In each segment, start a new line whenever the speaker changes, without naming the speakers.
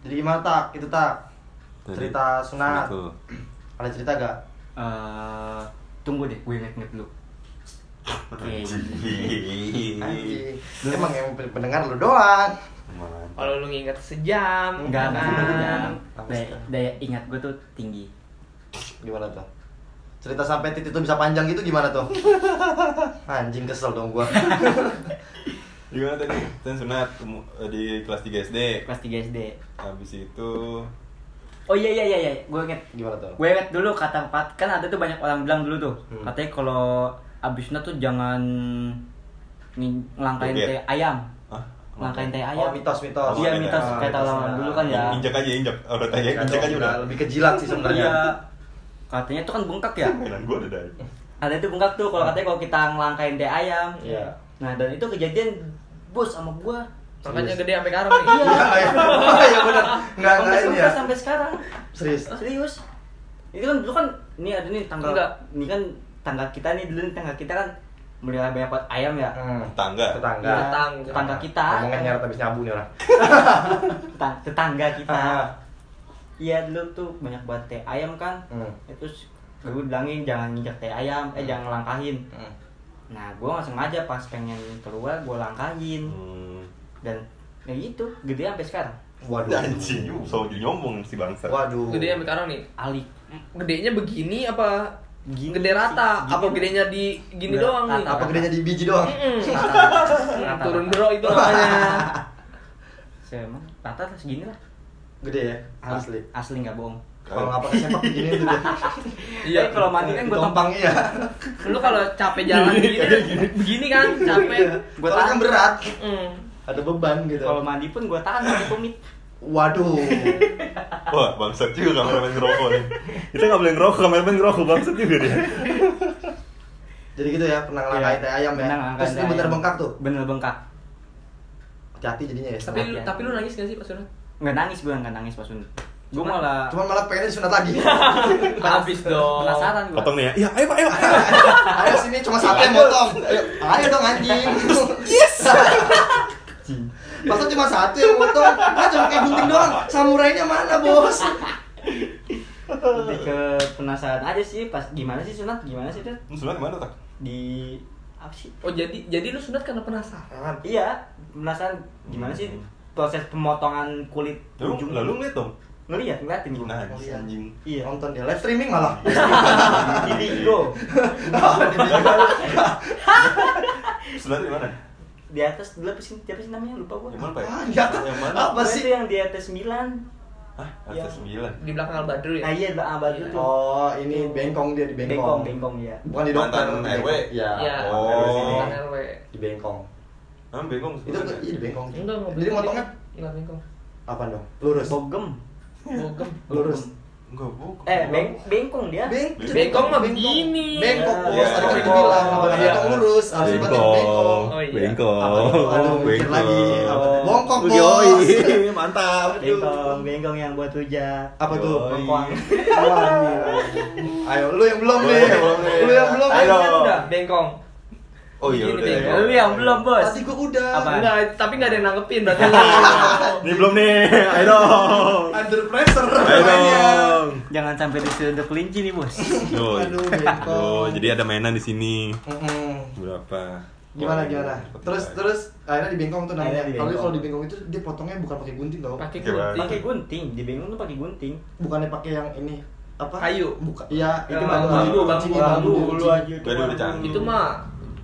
gimana tak itu tak
Dari
cerita sunat
sunat dulu.
ada cerita gak
Eh, tunggu deh, gue inget-inget dulu. Oke.
Iya.
Anjing. emang yang pendengar lu doang
Mantap.
Kalau lu nginget sejam,
Enggak, enggak.
kan?
enggak. Daya, daya ingat gue tuh tinggi.
gimana tuh cerita sampai titik itu bisa panjang gitu gimana tuh anjing kesel dong gua
Gimana tadi? Kan sunat kemu- di kelas 3 SD.
Kelas 3 SD.
Habis itu
Oh iya iya iya, iya. gue inget.
gimana tuh
Gue inget dulu kata empat kan ada tuh banyak orang bilang dulu tuh
Hmm.
katanya kalau abisnya tuh jangan ng- ngelangkain
Joget.
teh ayam,
Hah?
Ah, ngelangkain teh
oh
ayam.
mitos mitos
Iya,
mitos.
Ah,
Kayak
mitos,
tahu
ya.
dulu kan ya.
Injak aja, injak. Udah
Nggak
tanya, injak
tahu,
Eh, iya, aja udah.
nggak, lebih kejilat sih sebenarnya
Iya. Katanya tuh kan bengkak ya.
Mainan gua udah dari.
ada itu bengkak tuh kalau katanya kalau kita ngelangkain teh ayam.
Iya.
Nah dan itu kejadian bos sama gua.
Makanya gede sampai karung nih.
iya benar nggak nggak
Sampai-
ini ya
sampai sekarang. Oh,
serius
Serius. Itu kan dulu kan ini ada nih tanggal
Enggak.
ini kan tanggal kita nih dulu nih tanggal kita kan melihara banyak pot ayam ya.
Hmm.
Tetangga.
tetangga
Iya,
Tetang-
tetangga kita.
ngomongnya nyeret habis nyabu nih orang
Tetang- tetangga kita.
Ah.
Iya dulu tuh banyak banget teh ayam kan.
Hmm.
Ya, Terus gue bilangin jangan nginjak teh ayam, eh jangan langkahin.
Hmm.
Nah gue nggak sengaja pas pengen keluar gue langkahin
Hmm.
dan ya gitu gede sampai sekarang.
waduh
Anjing, yuk, so jadi nyombong si bangsa.
waduh
Gede
ya,
sampai karung nih.
Ali
Gedenya begini apa
Gini
gede rata?
sih,
Apa
gini.
gedenya di gini
Nggak,
doang nih?
rata.
apa gedenya di biji doang
Hmm,
rata-rata.
Turun bro itu namanya.
Saya emang rata lah segini lah.
gede ya
Asli
asli
asli nggak bohong.
kalau nggak pakai sepak begini tuh dia
Iya
Iya.
kalau mandi kan gue
Ditompang, iya
Lu kalau capek jalan begini kan, begini kan capek.
Iya.
Gua
Soalnya
tahan.
kan berat
Mm.
ada beban gitu
kalau mandi pun gue tahan pakai tumit.
waduh
Wah, bangsat juga kameramen ngerokok nih. Kita nggak boleh ngerokok, kameramen ngerokok bangsat juga dia.
jadi gitu ya pernah ngelangkain
Iya.
teh ayam ya
Benar, ngelangkain
terus
teh
itu bener
ayam.
bengkak tuh
Bener bengkak.
hati-hati jadinya ya
Tapi lu,
Latihan.
tapi lu nangis gak sih Pak Sunat?
Nggak nangis gue nggak nangis pas sunat. Gue
Cuman-
malah
cuman malah pengennya disunat lagi
Habis dong.
penasaran gue.
Potong nih ya. Iya, ayo Pak, ayo.
ayo sini cuma
Iya,
satu yang motong ayo, ayo dong anjing yes masa cuma satu yang motong ah cuma kayak gunting doang samurainya mana bos
Lebih ke penasaran aja sih pas gimana sih sunat gimana sih tuh
Lu sebelah gimana, Tak?
di apa sih?
Oh jadi jadi lu sunat karena penasaran.
Kan,
Iya penasaran gimana sih
Hmm.
proses pemotongan kulit
Lu, lah, lu ngeliat dong.
ngeliat ngeliatin gue.
Nah, anjing.
Iya.
nonton dia live streaming malah
Indigo
Sebelah di mana?
di atas dulu apa sih siapa sih namanya lupa gua
Yang mana, Pak?
Ah, nggak tahu.
Yang mana?
Apa
Gua
sih?
itu yang di atas Milan
Hah,
Iya.
atas 9.
Di belakang Al Badru ya.
nah iya bang abad itu
oh ini bengkong dia di
bengkong
bengkong
bengkong ya
bukan di dokter
Mantan
di
RW?
Bengkong. iya
Iya.
mantan RW sini.
Oh.
Belakang RW.
di bengkong
Ah, bengong
itu
sebelah.
iya di bengkong
Enggak enggak.
jadi motongnya
Enggak bengkong.
apa dong lurus
bogem
Bogem.
lurus
Enggak, bukan.
eh beng bengkong dia
Beng-
Bengkong
Bengkong mah begini.
Bengkok bos,
Iya.
tadi kan
Bengkok.
dibilang apa tadi
Iya.
kan lurus, harus dibuat yang bengkok.
Oh, iya.
Bengkong.
Aduh, mikir lagi. Apa tuh? Bongkok, bos.
Yoi, mantap.
bengkong bengkong yang buat rujak
Apa tuh?
Yoi.
bengkong
Wah, anjing. Ayo, lu yang belum nih.
Lu yang belum nih.
Lu yang belum.
Ayo.
nih.
Kan udah bengkong.
Oh iya,
Ini
udah.
bengkong.
lu yang belum bos
Tadi gua udah.
Apa?
Enggak, tapi enggak ada yang nanggepin berarti.
Ini belum nih. Ayo dong.
Under pressure.
Ayo
namanya.
dong.
jangan sampai disedot kelinci nih bos
Duh.
Aduh, bengkong.
Duh, jadi ada mainan di sini.
Mm-mm.
Berapa?
Gimana
Wah,
gimana?
ini
Terus terus akhirnya di bengkong tuh namanya.
Akhirnya di
Kalau
bengkong.
kalau di bengkong itu dia potongnya bukan pakai gunting tau.
Pakai
Gimana?
kunti.
pakai gunting di bengkong tuh pakai gunting
Bukannya pakai yang ini apa?
Kayu. Ah,
Bukan. Iya,
Yang
bambu,
bambu,
kuncinya
bambu,
kunci.
dulu aja
Udah, udah, udah, canggih.
Itu mah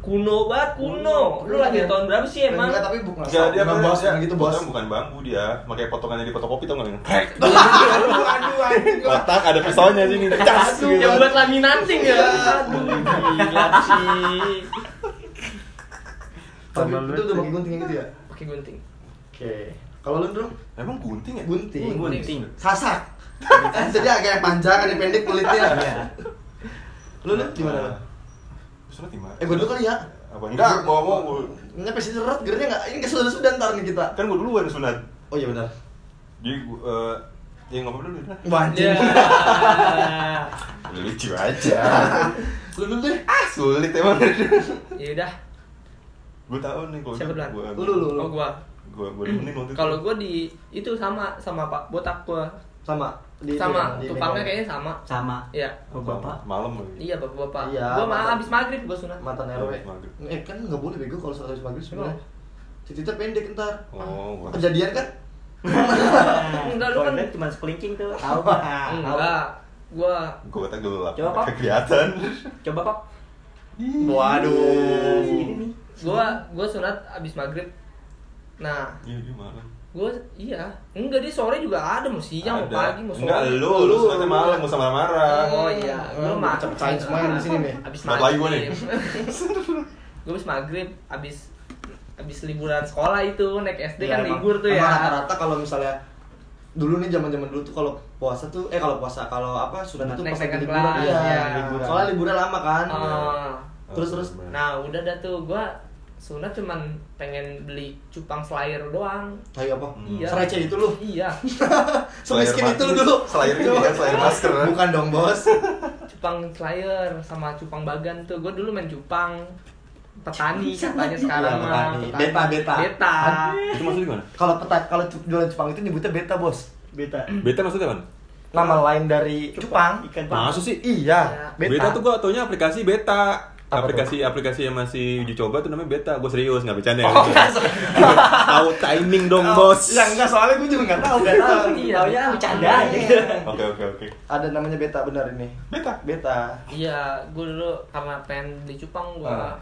kuno banget, kuno. Lu lahir tahun berapa sih emang?
Hmm. Iya, Enggak, tapi bukan.
Enggak, dia
bukan
bukan
bos yang gitu, bos.
Bukan bambu dia, pakai potongannya di fotokopi tau nggak? yang krek.
Aduh, aduh, anjing.
Kotak ada pisaunya sini. Cas. gitu kan.
Aduh.
Yang buat laminating ya.
Iya.
Aduh, gila sih.
Tapi
Tambah
itu
lu.
udah pakai gunting yang gitu ya?
Pakai gunting.
Oke. Kalau lu dong
Emang gunting ya?
gunting.
gunting
Sasak. Iya. Jadi agak yang panjang, ada yang pendek kulitnya. Lu lu gimana lu?
Surat di mana?
Eh, gua dulu kali ya.
Apa enggak? Gua mau
Nyampe sini seret, gernya enggak. Ini kesudah sudah ntar nih kita.
kan gua duluan sunat.
Oh iya benar.
Jadi gua eh, ya ngomong dulu dah.
Ya.
Wajib.
Lucu aja.
Lu dulu deh.
ah, sulit emang.
Ya udah.
Gue tahu nih kalau
Siapa duluan?
Gue
Lu, lu, lu.
Oh gua.
Gue gue nemenin waktu itu.
Kalau gua di itu sama sama Pak botak gua.
Sama. Di-
Sama
di- di-
tukangnya kayaknya sama.
sama
Iya.
oh, bapak
malam lagi.
Iya bapak-bapak.
Iya,
Gua mah
bapak.
habis maghrib gua sunat.
mantan RW.
Habis maghrib.
Eh kan nggak boleh bego kalau habis maghrib sebenarnya.
Kenapa?
Titiknya pendek ntar.
Oh, gua-
Kejadian kan?
Enggak, lu
Kalau
kan-
Nen cuma sekelincing tuh tahu Pak. Tahu.
Enggak. Gua
Gue kata gelap.
Coba, Pak.
Nggak kelihatan.
coba pak
Waduh.
segini nih
gua
Hmm.
gua sunat habis maghrib. Nah,
Iya dia malam.
gua iya. Enggak di sore juga ada mau siang, Iya, mau
Ada.
pagi, mau sore.
Enggak lu, lu
Lu,
sunatnya
lu.
malam, gak usah marah-marah.
Oh iya, gua
Lu
mah
pecah-pecahin semuanya di sini nih.
Abis
Sunat lagi gua nih.
gue abis maghrib, abis abis liburan sekolah itu naik SD
Iya,
kan
emang-
libur tuh
emang
ya.
rata-rata kalau misalnya dulu nih zaman-zaman dulu tuh kalau puasa tuh eh kalau puasa kalau apa sudah tuh pas
Naik
lagi
second
liburan
class,
iya.
iya.
Liburan. Soalnya liburan lama kan.
Ah.
Terus terus
Nah udah dah tuh gue sunat cuman pengen beli cupang slayer doang.
tai apa?
Iya.
Sereceh itu lu.
Iya,
Semiskin itu lu dulu.
Selain ini kan selain masker. kan?
Bukan dong, Bos.
cupang slayer sama cupang bagan tuh. Gue dulu main cupang petani katanya sekarang
Iya,
mah.
petani. Beta, beta.
Beta.
Itu maksudnya gimana?
Kalau peta kalau cu- jualan Jepang itu nyebutnya beta, Bos.
beta
Beta maksudnya kan?
Nama lain dari Jepang.
ikan pak
Maksud sih?
Iya,
Beta. tuh gua taunya aplikasi beta.
Apa
aplikasi aplikasi yang masih uji coba tuh namanya beta. Gua serius nggak bercanda. ya.
Oh, enggak, so-
Tahu timing dong, Bos.
Ya enggak, soalnya gue juga enggak tahu, enggak tahu.
iya ya bercanda aja
Iya.
Oke, oke, oke.
Ada namanya beta benar ini.
Beta.
Beta.
Iya, gue dulu karena pengen beli cupang gue
Ah.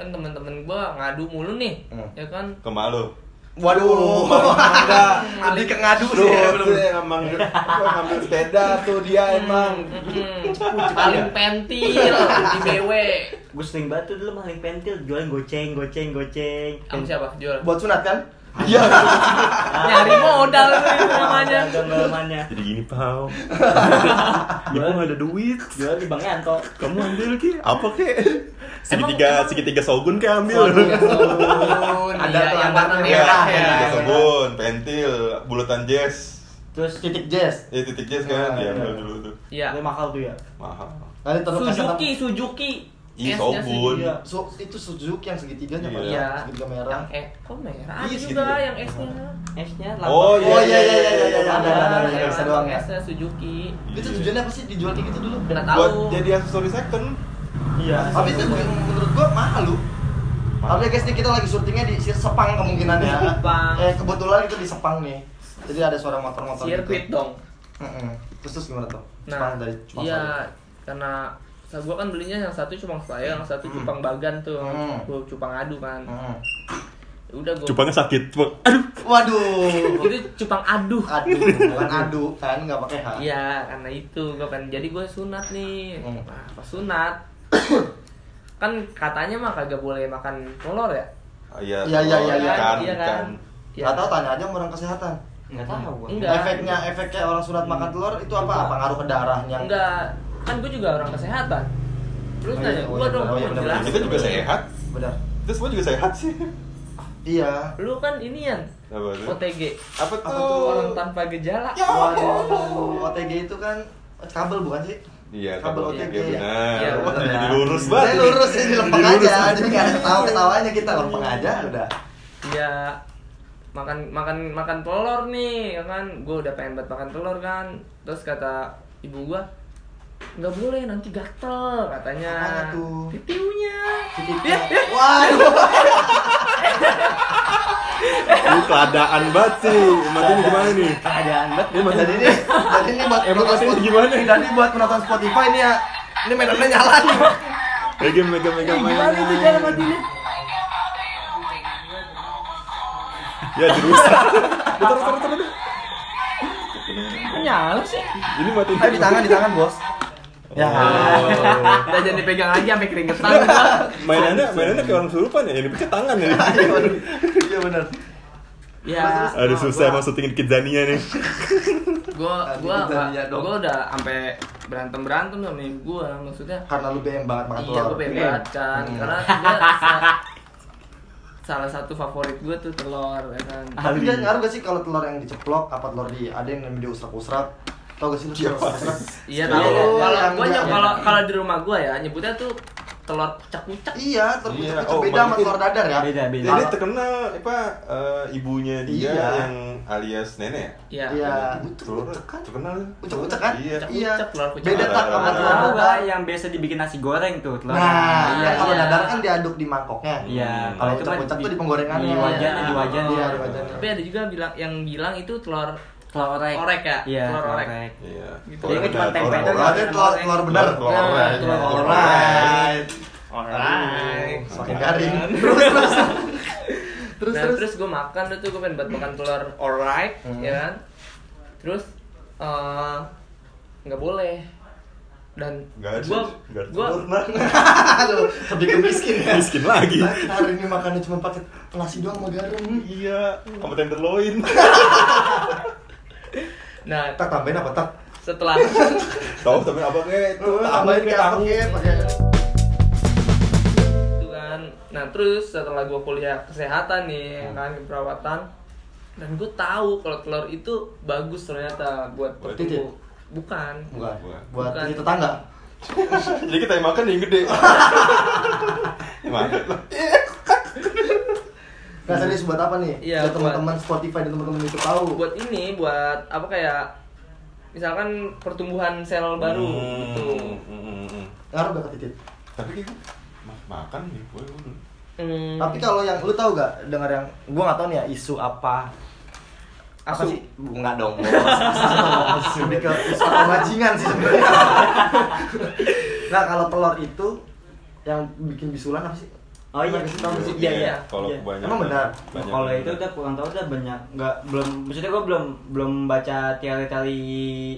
kan temen-temen gue ngadu mulu nih,
Hmm.
ya kan.
Ke emak lu.
Waduh,
Mangga.
lebih ke ngadu sih.
emang ngambil sepeda tuh dia
Mm-mm. Paling pentil di BW.
gue sering banget tuh dulu maling pentil jualan goceng goceng goceng
Kamu siapa? Jual.
Buat sunat kan? Iya.
Nyari
Ah,
modal itu namanya.
namanya
Jadi gini, Pau. Ibu nggak ada duit.
jualan di bang Yanto
Kamu ambil ki? Apa ki? Segitiga segitiga sogun ki ambil.
Sabun,
Ada
ada
tuh
yang
ada
warna
tuh.
merah ya.
Segitiga
iya.
sogun, pentil, bulatan jazz.
terus
Titik jazz.
Ya titik jazz kan
Iya,
diambil
iya.
dulu tuh.
Iya.
itu mahal tuh ya
Mahal.
Nanti taruh
Suzuki, Suzuki.
Ih,
S-nya
sogun.
Suzuki.
Iya.
So, itu Suzuki yang segitiganya Pak.
Iya.
Segitiga
Yang
merah.
E, kok merah? Ada
Iya,
juga
segitiga.
yang S-nya.
S nya
Oh, iya, iya, iya, iya, iya,
ada, ada, ada, ada,
yang
S-nya doang ya.
S-nya Suzuki.
iya. Itu tujuannya apa sih dijual kayak gitu dulu?
Nggak
Buat
tahu.
jadi aksesoris second.
iya
Tapi itu juga menurut gua mahal lu. Tapi guys, nih kita lagi syutingnya di Sepang kemungkinannya.
Sepang.
Eh kebetulan itu di Sepang nih. Jadi ada suara motor-motor
Sirkuit
gitu.
dong.
Mm-mm. Terus terus gimana tuh?
Nah,
Sepang dari Sepang
iya,
Sari.
karena saya gua kan belinya yang satu cupang saya, yang satu cupang bagan tuh,
Hmm.
gua cupang adu kan. Ya
Mm.
Udah gua.
Cupangnya sakit. Cupang- Aduh.
Waduh.
Itu cupang aduh.
Aduh, bukan adu kan nggak pakai H.
Iya, karena itu gue pengen jadi gue sunat nih.
Hmm.
Nah, pas sunat kan katanya mah kagak boleh makan telur ya?
Ah, Iya.
Iya, iya, iya, iya.
Ikan,
Iya kan?
ikan.
Ya.
Nggak tahu tanya aja sama orang kesehatan.
nggak tahu gua
Enggak. Hmm.
Efeknya efeknya orang sunat makan telur itu apa? Apa ngaruh ke darahnya?
Enggak, kan gue juga orang kesehatan. Terus
Oh iya,
nanya
oh
gue
iya,
dong,
benar, oh iya,
mau
benar,
jelasin.
Kita Nah, juga sehat.
Benar.
Kita semua juga sehat sih.
Iya.
Lu kan ini Yan,
Apa tuh?
OTG,
Apa
Apa
tuh?
tuh?
orang tanpa gejala.
Ya Waduh, OTG itu kan kabel bukan sih?
Iya,
kabel
kabel
OTG.
OTG, benar.
Iya,
Wah,
benar.
jadi lurus banget.
Saya lurus, jadi lempeng
Jadi lurus.
aja. Jadi nggak ada ketawa-ketawanya kita lempeng aja udah.
Iya makan makan makan telur nih ya kan gue udah pengen banget makan telur kan terus kata ibu gua nggak boleh nanti gatel katanya Iya.
Apanya tuh?
titiunya
Titiknya. Waduh.
Lu keadaan banget sih. Mati ini gimana nih?
keadaan banget
Jadi ini, jadi ini buat
Emang
penonton
katanya
Spotify-
gimana?
Jadi buat penonton Spotify ini ya, ini mainannya nyala nih.
Megang, megang, megang,
Eh,
megang.
matinya
Ya, dirusak. Bentar, bentar, bentar, bentar.
nyala sih
Ini matiin.
Ayo di tangan, di tangan bos. Ya.
Oh.
udah jangan dipegang lagi sampai keringetan gua.
Mainannya, mainannya kayak orang surupan ya. Yang dipecet tangan ya.
Iya benar.
ya
Aduh, susah emang syuting di Kidzania nih.
gue
Nanti
gue
kita lihat dong.
gue udah sampai berantem berantem sama ibu gue maksudnya
Karena lu BM banget makan telur.
iya gue pengen banget kan
Hmm.
karena gua sa- salah satu favorit gue tuh telur ya kan
Tapi dia ngaruh gak sih kalau telur yang diceplok apa telur di ada yang namanya diusrak-usrak? Tau gak sih lu telur usrak-usrak?
Iya
Kalau
tahu. Kalau
yang
gua
dia-
nyok- kalau kalau di rumah gua ya nyebutnya tuh telur pucak-pucak.
Iya, telur
Iya,
pucuk-pucuk
oh,
beda sama
mungkin.
telur dadar ya.
Beda, beda.
Ini terkenal apa eh, ibunya dia
Iya.
yang alias nenek ya?
Iya.
Iya.
Telur
Ucek-ucek kan?
terkenal.
Ucek-ucek kan?
Iya.
Iya.
Ucek-ucek, telur ucek.
Beda tak sama
Ada,
telur
Tahu
dadar.
nggak yang biasa dibikin nasi goreng tuh telur?
Nah, kan kalau
iya.
dadar kan diaduk di mangkoknya.
Iya,
Hmm.
kalau itu kan
Kocak-kocak
di-
tuh di penggorengannya.
Di wajannya, di wajannya.
Iya, di wajannya.
Tapi ada juga bilang yang bilang itu telur
Telur orek.
Orek ya?
Iya,
Telur
telur
orek.
orek.
Iya.
Gitu.
Telur
Jadi cuma
dadar,
tempe
telur
doang.
dadar.
Berarti telur telur benar.
Telur
Nah,
orek.
telur
Alright.
Alright.
Semakin garing. Terus terus. Terus
Terus nah,
terus. Hmm.
terus, gue makan tuh, tuh gue pengen buat makan telur alright, ya kan? Terus eh, nggak boleh dan
Nggak ada.
gue
Nggak ada
gue
telur, nah.
Aduh, bikin miskin ya.
Miskin lagi.
Nah, hari ini makannya cuma pakai nasi doang sama garam.
Iya. Sama tenderloin.
nah
Tak tambahin apa tak?
setelah
Tahu tapi apa kayak itu?
Tambahin kayak apa
Eh, tahu.
kek, Iya, pakai
itu kan nah terus setelah gue kuliah kesehatan nih kan keperawatan dan gue tahu kalau telur itu bagus ternyata buat
Buat
titik?
tubuh bukan
Bukan.
Bukan.
Buat
Bukan.
isi tetangga.
Jadi kita yang makan yang gede. Yang makan lah.
Nah, serius buat apa nih?
Iya,
Biar teman-teman Spotify dan teman-teman itu tahu.
buat ini buat apa kayak misalkan pertumbuhan sel baru
Hmm,
gitu
hmm, hmm, hmm.
Ngaruh gak ke titit?
Tapi kayak gue ma- makan nih gue dulu.
Hmm,
Tapi kalau yang lu tahu gak dengar yang gua nggak tahu nih ya isu apa apa
Asu.
sih? Enggak dong. bos. Isu Lebih ke isu apa bajingan sih sebenarnya. nah, kalau telur itu yang bikin bisulan apa sih?
Oh iya,
Kasih tahu sih.
Iya, iya.
Kalau
Iya.
kebanyakan.
Emang benar?
banyak
Kalau
yang
itu kan
benar.
udah kurang tahu udah banyak nggak belum maksudnya gue belum belum baca teori-teori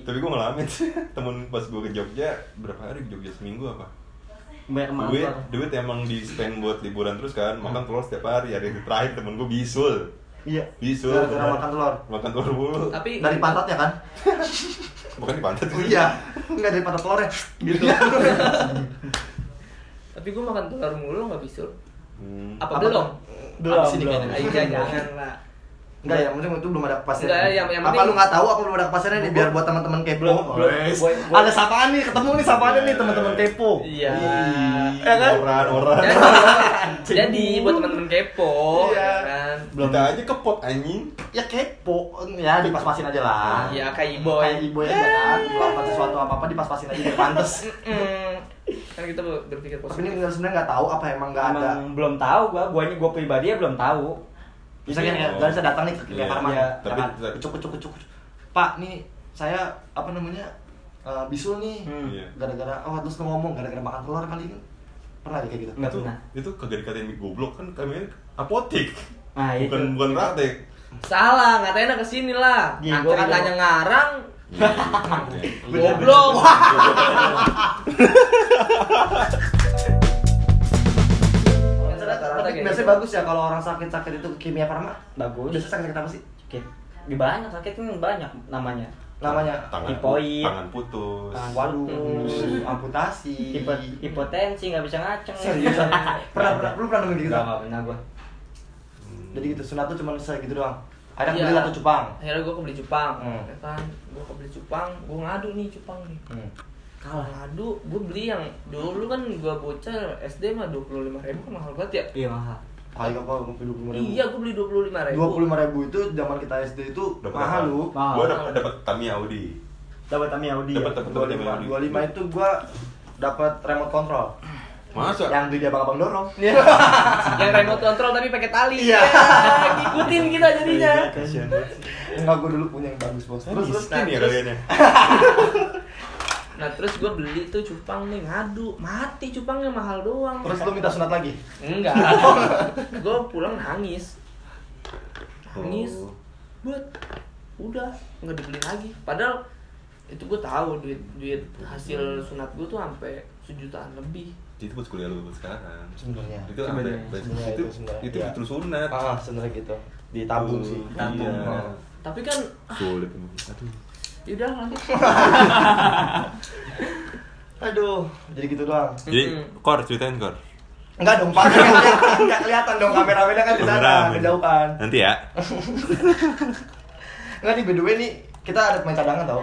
Tapi gue ngalamin sih. Temen pas gue ke Jogja berapa hari ke Jogja seminggu apa?
banyak
duit
maaf
duit emang di spend buat liburan terus kan makan telur setiap hari hari terakhir temen gue bisul
Iya.
bisul
Gara-gara
benar.
makan telur.
makan telur mulu
tapi
Dari pantatnya kan?
bukan di pantat
Oh iya. Enggak dari pantat telurnya. Gitu.
tapi gue makan telur mulu nggak bisul
Hmm.
Apa
apa, belum
tuh?
Belum,
Abis ini
belum.
kayaknya.
Iya jangan lah
Enggak ya, mungkin itu belum ada kepastian.
Enggak, yang- yang
apa
penting-
lu nggak tahu apa belum ada kepastian nih biar buat teman-teman kepo.
Belum, belum.
Wes.
Gua- gua-
Ada sapaan nih, ketemu nih sapaan nih teman-teman
Eh,
kepo.
iya
Ih,
Ya kan?
orang orang
jadi, jadi buat teman-teman kepo
Iya.
ya kan
belum kita aja kepot anjing
Ya kepo, ya dipas-pasin aja lah.
ya kayak boy
Kayak ibu aja kan, melakukan sesuatu apa-apa dipas-pasin aja biar pantes.
Mm-mm.
Hmm.
kan kita berpikir
Tapi ini
positif
bener sebenarnya nggak tahu apa emang nggak ada.
Emang belum tahu gua, guanya gua pribadi ya belum tahu.
Misalnya
Iya.
kayak nggak bisa datang nih ke
Iya.
Kimia Farma.
Iya.
Tapi-
Kucuk, kucuk, kucuk, kucuk. Pak, nih saya apa namanya eh, bisul nih.
Hmm.
Iya.
Gara-gara, oh terus lu ngomong gara-gara makan telur kali ini. Pernah ya kayak gitu?
Nggak
itu
pernah.
itu kagak dikatain goblok kan kami apotik
Nah, itu.
bukan bukan praktek
salah ngatanya ke sini lah
Iya,
Nah,
gua-
katanya ngarang
Iya, iya, iya.
goblok Yang Kan rata-rata
Tapi
kayak
biasanya
gitu.
bagus ya kalau orang sakit-sakit itu ke Kimia Farma.
Bagus.
Biasanya sakit-sakit apa sih?
Oke. Di banyak sakit kan banyak namanya.
Namanya? Ah,
tangan
Tipoid.
tangan putus
Tangan-
Waduh,
Hmm.
amputasi.
Hipo, hipotensi nggak bisa ngaceng.
Serius? Pernah, pernah, lu pernah dengar gitu?
Nggak, nggak pernah gua.
Hmm.
Jadi gitu, sunat tuh cuma bisa gitu doang. Ada
Iya.
beli satu cupang.
akhirnya gue kebeli Jepang
Hmm.
ya kan gue kebeli Jepang gue ngadu nih Jepang nih
Kalah.
ngadu gue beli yang dulu kan gue bocah SD mah dua puluh lima ribu mahal banget ya
Iya mahal.
Paling apa? Dua puluh ribu.
iya gue beli dua puluh lima ribu
Dua puluh ribu itu zaman kita SD itu
Dapat
mahal
apa?
lu.
Mahal.
Gua dapat dapat Tamiya Audi.
Dapat Tamiya Audi. ya?
Dapat dapat
Dua
Tamiya
lima,
Audi.
dua lima itu gua dapat remote control.
Masa?
Yang beli di abang-abang dorong.
Iya. yang remote control tapi pakai tali
Iya.
Ya, ngikutin kita jadinya
Iya, kasihan banget sih.
Enggak, gua dulu punya yang bagus bos.
Terus
Terus terus.
miskin ya
terus-
kaliannya.
nah terus gue beli tuh cupang nih ngadu mati cupangnya mahal doang
Terus lu minta sunat lagi.
enggak gue pulang nangis nangis
Oh.
buat udah nggak dibeli lagi padahal itu gue tahu duit duit hasil sunat gue tuh sampai sejutaan lebih
Jadi itu pas kuliah lu sekarang.
Sebenarnya.
Itu sampai
Sebenarnya.
Sebenarnya
itu
itu sebenarnya.
itu
Iya.
betul sunat.
Ah, sebenarnya gitu. Ditabung
Tuh,
sih.
Iya.
Oh.
tapi kan
Sulit emang. Aduh.
yaudah nanti
Aduh, jadi gitu doang.
Jadi
Mm-mm.
kor ceritain kor.
Enggak dong, Pak. Nggak kelihatan- Nggak kelihatan dong kameramennya kan di sana,
Kameramen.
kejauhan.
Nanti ya.
Enggak nih, by the way nih, kita ada pemain cadangan tau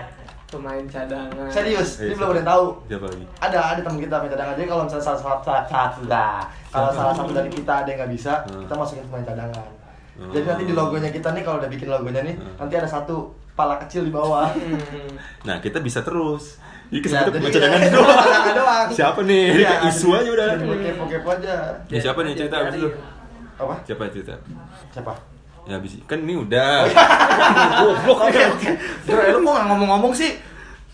pemain cadangan.
Serius,
Iya,
ini
siapa?
belum ada yang tahu.
Siapa lagi?
Ada, ada teman kita main cadangan. Jadi kalau misalnya salah satu salah satu lah, kalau salah satu dari kita ada yang nggak bisa,
Hmm.
kita masukin pemain cadangan.
Hmm.
Jadi nanti di logonya kita nih kalau udah bikin logonya nih,
Hmm.
nanti ada satu pala kecil di bawah.
Hmm.
Nah, kita bisa terus.
Ya,
Jadi kesempatan
jadi
baca dengan
iya,
doang.
cadangan doang. Iya,
Siapa nih? Ini kayak isu aja udah.
jadi buat Kepo-kepo aja.
Ya, siapa nih cerita abis itu?
Apa?
Siapa yang cerita?
Siapa?
Ya abis kan ini
Oh,
udah.
iya.
Goblok kan.
Bro, eh, lu kok gak ngomong-ngomong sih?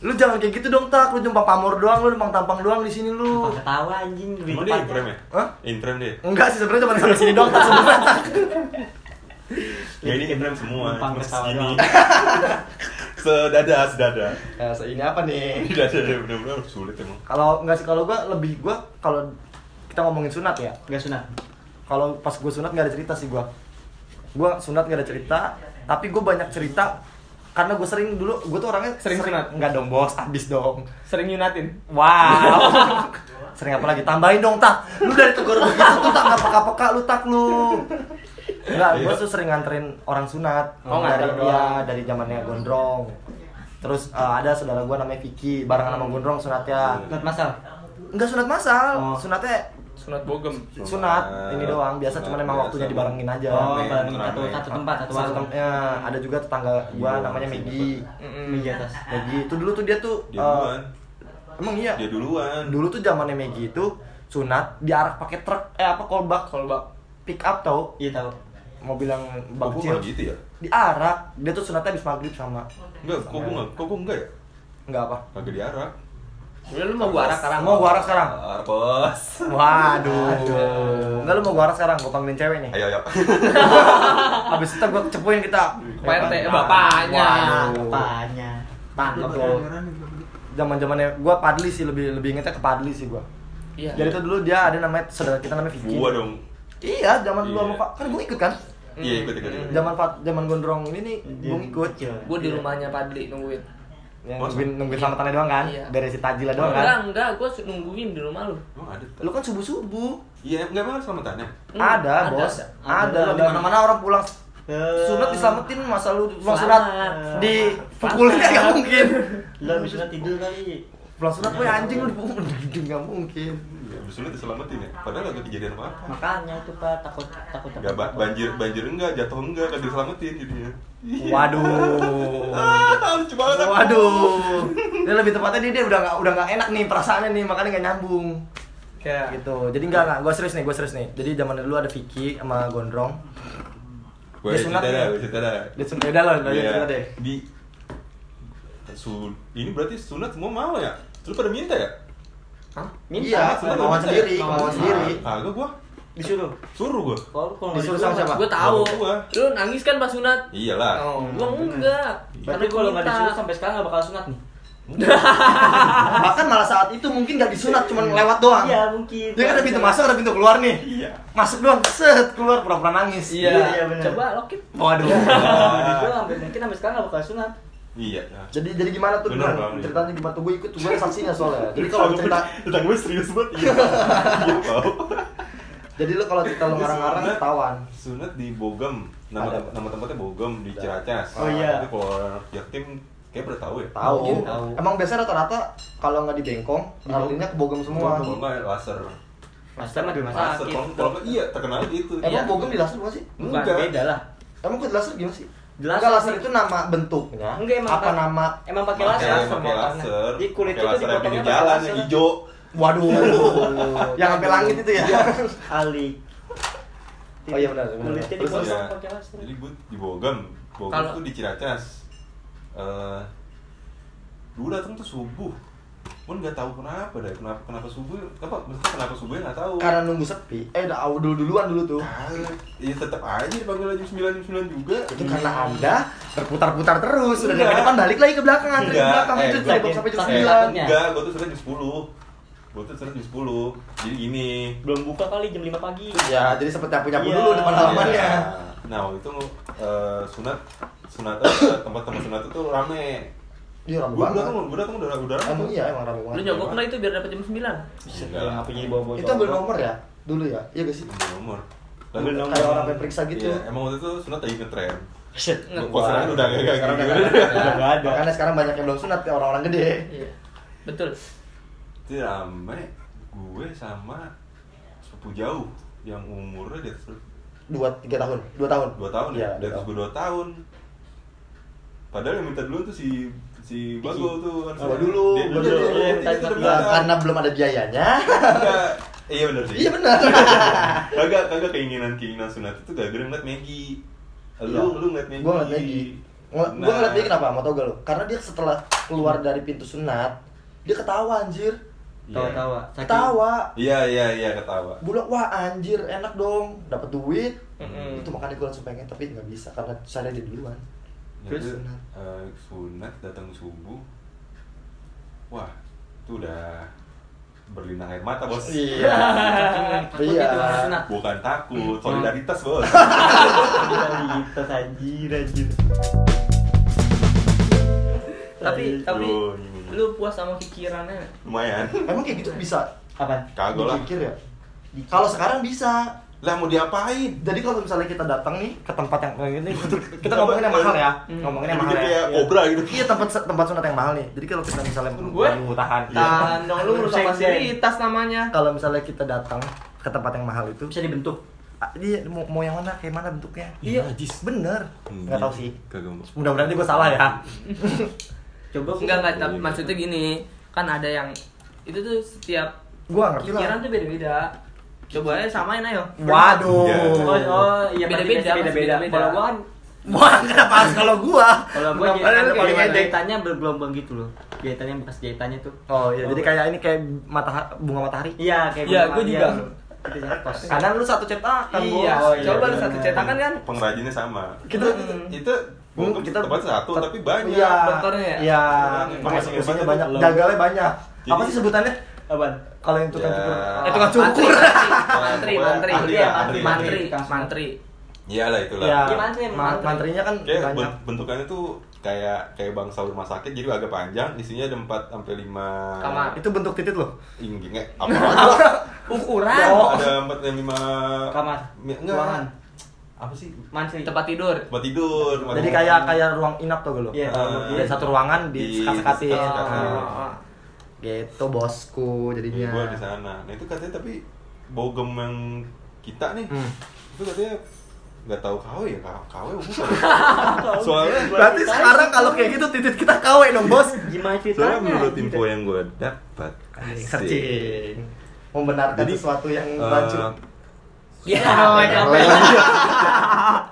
Lu jangan kayak gitu dong, Tak. Lu numpang pamor doang, lu numpang tampang doang di sini lu.
Sumpah ketawa anjing di
Emang dia
depan.
in-frame ya?
Hah?
In-frame dia?
Enggak sih, sebenarnya cuma sampai sini doang, Tak. Sebenarnya, Tak.
Ya ini in-frame semua.
Numpang
Cuma
ketawa
segini.
doang.
Sedada, sedada.
Ya, se- ini apa nih?
Ini dada dia bener-bener sulit emang.
Kalau nggak sih kalau gua lebih gua kalau kita ngomongin sunat ya.
Enggak sunat.
Kalau pas gua sunat nggak ada cerita sih gua. Gua sunat nggak ada cerita, tapi gua banyak cerita karena gue sering dulu gue tuh orangnya
Sering sunat?
nggak dong bos abis dong
Sering nyunatin.
wow sering apa lagi tambahin dong tak lu dari tegur begitu tuh tak nggak peka peka lu tak lu nggak gue tuh sering nganterin orang sunat
Oh,
dari
nganter
dia
doang.
dari zamannya gondrong terus eh, ada saudara gue namanya Vicky barengan sama gondrong sunatnya
Sunat masal.
Enggak sunat masal,
Iya. Oh.
sunatnya
Sunat bogem.
sunat ini doang biasa cuman emang waktunya dibarengin aja.
Oh,
Rame,
bareng satu
rame.
satu tempat, satu
Satu
warung.
tem- ya, ada juga tetangga gua namanya Megi.
Mm-mm.
Meja atas.
Megi itu dulu tuh dia tuh
Dia
eh,
duluan.
emang iya.
Dia duluan.
Dulu tuh zamannya Megi itu sunat diarak pakai truk eh apa kolbak
Kolbak.
pick up tau
Iya tahu.
mobil yang
Kok
bang
gua
kecil
nggak gitu ya?
diarak dia tuh sunatnya habis maghrib sama
Enggak, kok gua nggak- kok gua enggak ya?
nggak apa
Kagak diarak.
Udah lu mau gua arah sekarang.
mau gua arak sekarang
Ah, Bos.
waduh nggak lu mau gua arak sekarang gua panggilin cewek nih
Ayo, ayo.
Habis itu gue cepuin kita
Ke RT, eh, bapaknya.
Waduh
Apanya?
Mantap loh zaman zamannya gue Padli sih lebih lebih ingetnya ke Padli sih gue
Iya.
Jadi itu dulu dia ada namanya saudara kita namanya Vicky
Gua dong.
Iya zaman dulu
Iya.
sama Pak Kan gue ikut kan
Iya, ikut, ikut, ikut.
Zaman Fat- zaman gondrong ini nih
Dia
gue ikut
kecil.
Gua di rumahnya Padli nungguin.
Yang
Masa?
nungguin, nungguin selamatannya doang kan
Iya.
Beresin tajil doang kan
Enggak, enggak, gua su- nungguin di rumah lu.
Emang ada? tak?
Lu kan subuh-subuh
Iya, enggak emang selamatannya.
Hmm,
Ada bos
Ada.
Ada, di mana-mana orang pulang
Eh,
Sunat diselamatin masa lu pulang sunat
Selamat.
dipukulin kan nggak mungkin
Lu habis sunat tidur kali.
Pulang sunat gue anjing lu dipukul nggak mungkin
Ya, abis itu diselamatin ya. Padahal kagak kejadian apa-apa.
Makanya itu Pak takut takut
Enggak ba- banjir, banjir enggak, jatuh enggak, kagak diselamatin jadinya.
Iya.
Waduh
Ah, lucu banget. aku.
Waduh. Dia lebih tepatnya dia, dia udah nggak udah nggak enak nih perasaannya nih makanya nggak nyambung.
Iya.
Kayak
Gitu. Jadi nggak nggak. Gue serius nih, gue serius nih. Jadi zaman dulu ada Vicky sama Gondrong.
Gua
Dia
cerita
sunat
dah,
ya?
gua cerita dah.
Dia sun- udah lah, udah
Iya.
cerita deh.
Di Su- ini berarti sunat semua mau ya? Lu pada minta ya?
Hah?
Minta,
Iya,
sunat
kemauan
minta
sendiri,
ya?
kemauan sendiri.
Ah, kagak gua.
disuruh.
Suruh gua.
Kalau kalau nggak
Disuruh
disuruh
sama siapa?
Gua tahu.
Bapak gua.
Lu nangis kan pas sunat?
Iyalah.
Oh, gua enggak.
Berarti kalau nggak disuruh sampai sekarang nggak bakal sunat nih.
Bahkan malah saat itu mungkin nggak disunat, cuman lewat doang.
Iya mungkin.
Dia kan ada pintu masuk, ada pintu keluar nih.
Iya.
Masuk doang, set keluar pura-pura nangis.
Iya,
Iya, bener.
Coba lokin.
Waduh.
Gue Iya, sampai mungkin sampai sekarang nggak bakal sunat.
Iya. nah.
Jadi jadi gimana tuh
Bener,
Bang?
Bang.
ceritanya gimana tuh gue ikut gue ada saksinya soalnya. Jadi kalau cerita
tentang gue serius banget. Iya. Iya, Pau.
jadi lu kalau cerita lu ngarang-ngarang
Sunat.
ketahuan.
Sunat di Bogem. Nama
Ada.
nama tempatnya Bogem di
Ada.
Ciracas.
Oh, iya.
Itu kalau orang yatim kayak udah tahu ya.
Tahu.
Mungkin tahu. Iya.
Emang biasa rata-rata kalau nggak di Bengkong, ngarulinnya ke Bogem semua.
Kalau enggak laser.
Master mah di
Laser
masak.
kalau kalau enggak iya terkenal gitu.
Emang
Iya.
Bogem di laser bukan sih?
Bukan
Enggak.
beda lah.
Emang kok di laser gimana sih?
Jelas.
Enggak laser itu nama bentuknya.
Enggak, emang
apa
kan-
nama?
Emang pakai
Pakai
laser,
laser, pakai laser.
Di kulit
Pakai laser
itu
yang
dipotongnya
pinggir
pakai
jalan
laser.
yang hijau.
Waduh. yang sampai langit itu ya.
Ali.
Oh iya, benar, benar.
Kulitnya
Terus,
dipotong
Iya.
pakai laser.
Jadi gue di Bogem. Bogem
Kalau-
tuh di Ciracas. Eh dulu datang tuh subuh. Pun nggak tahu kenapa deh, kenapa kenapa subuh? Apa maksudnya kenapa subuh ya nggak tahu?
Karena nunggu sepi. Eh udah dulu duluan dulu tuh.
Kagak. Iya tetap aja dipanggil jam 9 jam 9 juga.
Itu karena Anda berputar-putar terus. Udah
Enggak.
dari depan balik lagi ke belakang, antri ke
Enggak.
belakang
Eh,
itu
gua-
dari bawah sampai jam
Tapi-
9.
Iya.
Enggak, gue tuh sering jam 10. Gue tuh sering jam 10. Jadi gini.
Belum buka kali jam 5 pagi.
Ya, jadi seperti nyapu-nyapu
Iya.
dulu depan halamannya.
Iya. Nah, waktu itu eh, sunat sunat eh, tempat-tempat sunat itu rame.
Dia ramai
Gue
banget.
datang, gue datang udah udah rame.
Emang iya, emang ramai
Lu
banget.
nyogok enggak itu biar dapat jam 9?
Enggak lah.
Ngapain jadi bawa-bawa?
Itu ambil nomor ya? Dulu ya? Iya gak sih?
Ambil nomor.
Ambil
Lalu-
nomor.
Kayak orang pengen periksa gitu.
Iya, emang waktu itu sunat lagi ngetren.
Set.
Nggak.
Kok sekarang udah gak kayak
Sekarang
gitu.
udah nggak
Udah nggak ada.
Makanya sekarang banyak yang belum sunat kayak orang-orang gede.
Iya. Betul.
Jadi rame gue sama sepupu jauh yang umurnya di atas
Dua tiga tahun, dua tahun.
dua tahun
Iya,
ya, di atas
tahun.
gue dua tahun. Padahal yang minta duluan tuh si si Bagol tuh harusnya.
Gua dulu,
Dia
gua
dia-
dulu.
dia- dia- dia- dia- dia-
Ya,
dia-
karena belum ada biayanya.
Enggak. Iya benar sih.
Iya benar.
kagak kagak keinginan keinginan sunat itu gak gara ngeliat Maggie lu
Iya.
lu ngeliat Maggie Nah.
Gua ngeliat Maggie. Ngel- Gua ngeliat Maggie kenapa? Mau tau gak lo? Karena dia setelah keluar dari pintu sunat, dia ketawa anjir.
Iya.
Tawa-tawa. Saking-
Ketawa.
iya iya iya ketawa
Bulak wah anjir enak dong, dapat duit.
Mm-mm.
Itu makanya gue langsung pengen tapi nggak bisa karena saya dia duluan.
terus
Terus?
sunat, eh, sunat datang subuh wah itu udah berlinang air mata bos
Iya.
Takutnya
Iya.
tuh harus sunat.
bukan takut solidaritas bos
Kita anjir anjir.
Tapi tapi
Aduh, gimana?
lu puas sama pikirannya.
lumayan
Emang kayak gitu bisa
Apaan?
kagak lah
dipikir ya? Kalau sekarang bisa.
lah mau diapain
Jadi kalau misalnya kita datang nih ke tempat yang kayak gini, kita
Apa?
ngomongin yang mahal ya,
Hmm.
ngomongin yang
Jadi
mahal ya.
kayak
Iya.
kobra gitu
Iya tempat tempat sunat yang mahal nih. Jadi kalau kita misalnya
Gue?
Aduh, tahan.
Tahan dong lu
Iya. Lu
merusak
seng-seng.
fasilitas namanya.
Kalau misalnya kita datang ke tempat yang mahal itu,
Bisa dibentuk.
ah, dia mau, mau yang mana, kayak mana bentuknya?
Iya.
jis bener.
Hmm.
Nggak tahu sih.
kagak mau
Mudah-mudahan gue salah ya.
Coba gua-
Enggak enggak tapi maksudnya gini, kan ada yang itu tuh setiap
Gua ngerti
pikiran
lah.
tuh beda-beda. Coba aja samain ayo.
Waduh.
Iya.
Oh, oh iya
Beda-beda,
pasti beda-beda.
beda-beda.
Kalau gua kan
Wah, kenapa harus kalau gua?
kalau gua
Kenapa
jahitan
lu
kayak
paling
gimana?
edek?
jahitannya bergelombang gitu loh. Jahitannya bekas jahitannya tuh.
Oh iya, jadi kayak ini kayak matahari, bunga matahari.
Iya, kayak
Iya,
bunga
gua
mawar,
juga.
iya. Itu yang kos.
Kadang lu satu cetakan, Bos.
Iya,
Oh, iya,
coba lu
bener.
satu cetakan kan
pengrajinnya sama
Kita Hmm.
itu mungkin
kita-
tempat satu tapi banyak
Iya.
dokternya ya?
Iya.
Banyak.
Pengeksekusinya
Banyak.
banyak, gagalnya banyak.
Jadi-
Apa sih sebutannya?
Apaan?
Kalau yang tukang
Ya.
cukur.
Eh,
tukang
mantri,
cukur.
mantri,
Pokoknya
mantri,
ahli
Iya,
lah,
mantri,
ahli.
mantri,
Ahli.
mantri.
Iya lah itulah.
Iya.
Gimana sih,
Ma-
mantri?
Mantrinya kan
Kayak
banyak.
ben- bentukannya tuh kayak kayak bangsa rumah sakit jadi agak panjang, isinya ada 4 sampai 5
Kamar.
Itu bentuk titik loh.
Inggingnya apa?
Ukuran
Oh.
Ada 4 dan 5
Kamar.
Enggak.
Ruangan.
Apa sih?
Mantri.
tempat tidur.
Tempat tidur. tempat
Jadi
tidur.
kayak kayak ruang inap tuh lo.
Iya,
Eh,
Iya, satu ruangan di sekat-sekatin.
di sekat-sekatin.
Oh.
ah. Gitu bosku
Iya,
jadinya.
gua di sana. Nah, itu katanya tapi bogem yang kita nih.
Hmm.
Itu katanya nggak tahu KW ya, KW bukan. Soalnya
Berarti sekarang kalau kayak gitu titik kita KW dong, Bos.
Gimana ceritanya?
soalnya menurut
Gitu.
info yang gue dapat asik.
Searching. Membenarkan
Jadi,
sesuatu yang
Eh,
rancu.
Iya,
Ya,
oh,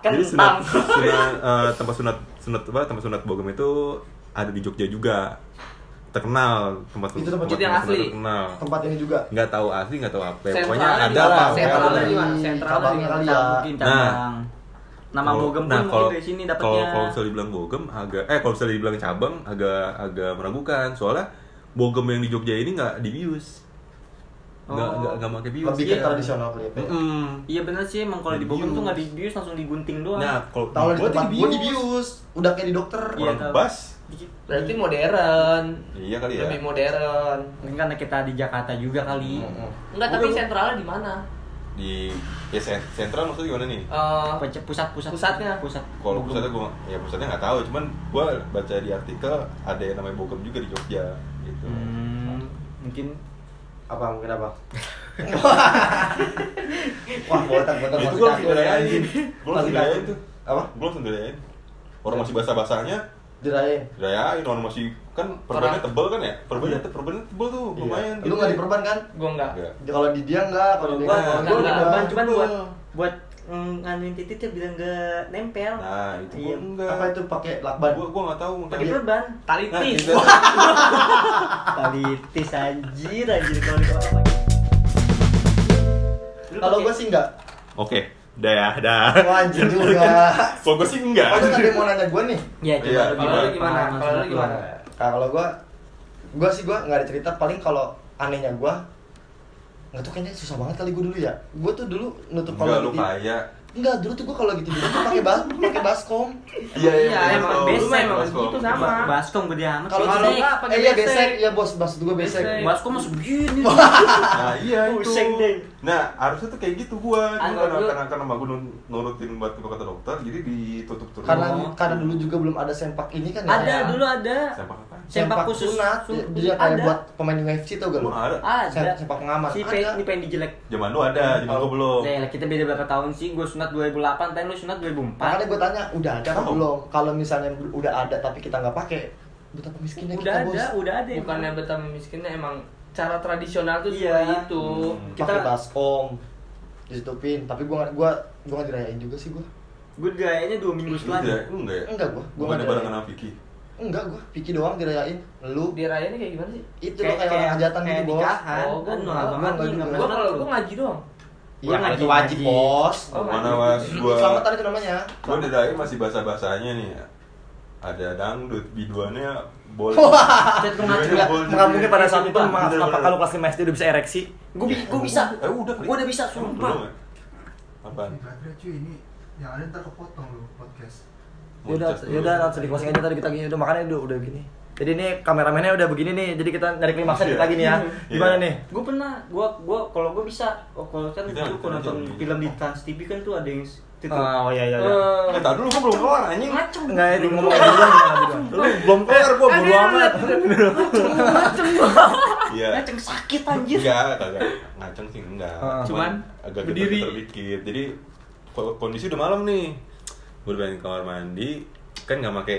Kan
Jadi
Kentang.
sunat, sunat eh, tempat sunat sunat apa tempat sunat Bogem itu ada di Jogja juga terkenal tempat
Itu tempat
Jogja yang
sunat
asli?
terkenal
tempat ini juga.
nggak tahu asli nggak tahu apa
Sentralnya
pokoknya ada
juga,
apa
sentralnya
pokoknya
juga. gimana?
Ih,
Sentral
cabang
dari-
kali ya.
Cabang, mungkin
Nah.
cabang. Nama
Kalau-
Bogem
nah,
pun
kalau-
mungkin dari sini
kalau
dapatnya.
kalau misalnya dibilang Bogem agak eh kalau misalnya dibilang cabang agak agak meragukan soalnya Bogem yang di Jogja ini nggak dibius nggak
Oh.
nggak nggak pakai bius
Lebih ke
Iya.
tradisional kali ya. Pe.
Mm-mm.
Iya bener sih emang kalau di Bogem
Dibius.
tuh nggak dibius langsung digunting doang.
nah kalau
Tahu lah di
gua tuh
tempat gua dibius. Udah kayak di dokter.
Iya,
orang
tahu.
bas
Dikit.
Berarti modern.
iya kali ya
Lebih modern.
Mungkin karena kita di Jakarta juga kali.
Mm-mm.
Enggak, tapi sentralnya di mana?
di ya, sen- sentral maksudnya gimana nih
Eh,
Pe- Pusat pusat
Pusatnya.
pusat. Hmm.
kalau
Bogem.
pusatnya gue ya pusatnya nggak tahu cuman gue baca di artikel ada yang namanya bogem juga di Jogja gitu
Hmm, mungkin
Apa mungkin apa? Wah, botak botak
itu
masih
gue langsung
kaku ya,
dirayain
anjing.
gue langsung
Masih kaku.
dirayain tuh
Apa?
gue langsung dirayain orang masih basah basahnya
Dirayain.
dirayain orang masih kan perbannya tebel kan ya perbannya
Iya.
te- perbannya tebel tuh lumayan
Lu enggak diperban kan?
gua enggak.
Enggak.
Kalau di dia enggak, kalau di
gua
dia
enggak,
gua
enggak.
cuman cuman buat
Enggak.
buat mm, nganuin titiknya bilang enggak nempel.
nah itu gue
Iya.
enggak
Apa itu pakai lakban?
gue gue nggak tahu
Pakai
makanya.
perban.
Tali
Nah,
tis.
gitu.
Talitis anjir anjir kalau di kota.
Lu
Kalau
pakai-
gua sih enggak.
oke dah ya dah
Wah, Oh, anjing juga. Oh,
kalau gue sih enggak
Kalau ada yang mau nanya gua nih.
Ya coba
Iya,
lu
kalau
gimana?
lu
gimana?
pengalaman
Kalau lu
sunat lu
gimana?
apa?
Nah, kalau gua gua sih gua nggak ada cerita paling kalau anehnya gua nggak tuh kayaknya susah banget kali gua dulu ya. Gua tuh dulu nutup
enggak
kalau
lu
di-
kaya
Enggak, dulu tuh gua kalau lagi tidur tuh pakai bas pakai baskom.
Iya,
Iya, emang
baskom.
besek.
Emang
Emang
baskom.
gitu sama.
Baskom gede amat.
Kalau
Kalau
dulu
enggak, pakai
eh iya
besek.
besek, iya bos, bas gua besek.
Besek.
Baskom masih begini.
Nah, iya itu.
Pusing deh.
Nah, harusnya tuh kayak gitu gua. Cuma
Anggap
karena
lu-
karena karena emak gua nun- nurutin buat ke kata dokter, jadi ditutup terus.
Karena
Oh.
karena dulu juga belum ada sempak ini kan ya.
Ada dulu ada.
Sempak apa?
Sempak khusus.
sunat,
Sun-
dia kayak
ada.
buat pemain UFC tau gak lu?
Emang ada.
Ada.
Sem- Sempak pengaman.
Si
Ada.
Pen, ini pengen dijelek.
Zaman lu ada, zaman gua belum.
Iya.
Nah, kita beda berapa tahun sih? Gue sunat 2008, pengen lu sunat 2004.
Makanya gue tanya, udah ada apa
Tahu.
belum? Kalau misalnya udah ada tapi kita nggak pakai, betapa miskinnya
Udah
kita
ada,
bos.
udah ada.
Bukannya betapa miskinnya emang cara tradisional tuh
Iya.
seperti itu.
Hmm.
Kita
Kita-
baskom, ditutupin. Tapi gue gue gue nggak dirayain juga sih gue.
Gue gayanya 2 minggu
Lu
setelahnya.
enggak, lu enggak ya?
Enggak, gua- gua
Bukan
nggak
barengan
ada.
sama Vicky.
Enggak gue, Vicky doang dirayain. Lu
Dirayainnya kayak gimana sih?
itu lo kayak orang hajatan gitu
kayak
bos.
nikahan.
Oh, gua
Kan
enggak,
gua
abang lagi
enggak
enggak
juga.
Gua
pernah
kalau
lu.
gua ngaji doang.
Iya, kan
Gua
itu
ngaji,
wajib
ngaji.
bos.
Oh,
Mana
ngaji.
mas gua?
Selamatan itu namanya.
Gua dirayain masih bahasa-bahasanya nih. ya. Ada dangdut, biduannya boleh.
Cet, gua ngaji
Biduannya
nggak?
boleh.
Nggak mungkin pada saat itu
Bener,
mas,
bener,
apa
bener.
kalau kelas 5 SD udah bisa ereksi?
Gue bi- gue bisa.
Eh udah kali.
Gue udah bisa,
Emang
sumpah.
belum ya? Apaan?
Ini baterai cuy ini yang ada ntar kepotong lu podcast.
Yaudah,
Muncul.
yaudah, ya langsung di closing aja tadi kita gini, udah makanya udah udah gini. Jadi ini kameramennya udah begini nih, jadi kita dari klimaksnya
Iya.
kita gini ya. Gimana nih?
Gue pernah, gue gue kalau gue bisa, oh, kalau kan
Kita-
dulu
kita
kalau nonton
nonton di-
film di Trans TV kan tuh ada yang s- itu. tuh.
Oh iya iya. iya.
Eh,
Eh,
tar dulu gua belum kelar anjing.
Ngacem.
Enggak ini ngomong duluan jangan duluan.
Belum kelar gua
Aduh,
bodo amat.
Ngacem, ngacem gua.
Iya.
Ngaceng sakit anjir.
Enggak, kagak ngaceng sih enggak.
Heeh.
Cuman
agak
berdiri.
berdiri dikit. Jadi ko- kondisi udah malam nih. Gue udah pengen ke kamar mandi, kan nggak pakai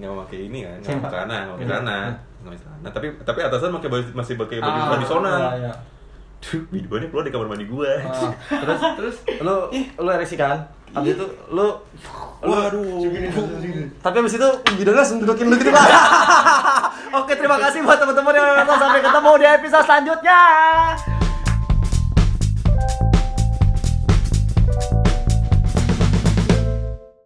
nggak pakai ini kan, nggak pakai
Sempak.
celana, nggak
Iya.
pakai celana, nggak pakai celana. Tapi tapi atasan pakai baju- masih pakai baju
Ah,
tradisional.
Iya, iya.
Duh, biduannya keluar di kamar mandi gue.
Ah, Terus
Terus
lu lu ereksi kan? Abis itu lu
Waduh.
tapi abis itu judulnya langsung dudukin lu gitu pak Oke terima kasih buat teman-teman yang nonton sampai ketemu di episode selanjutnya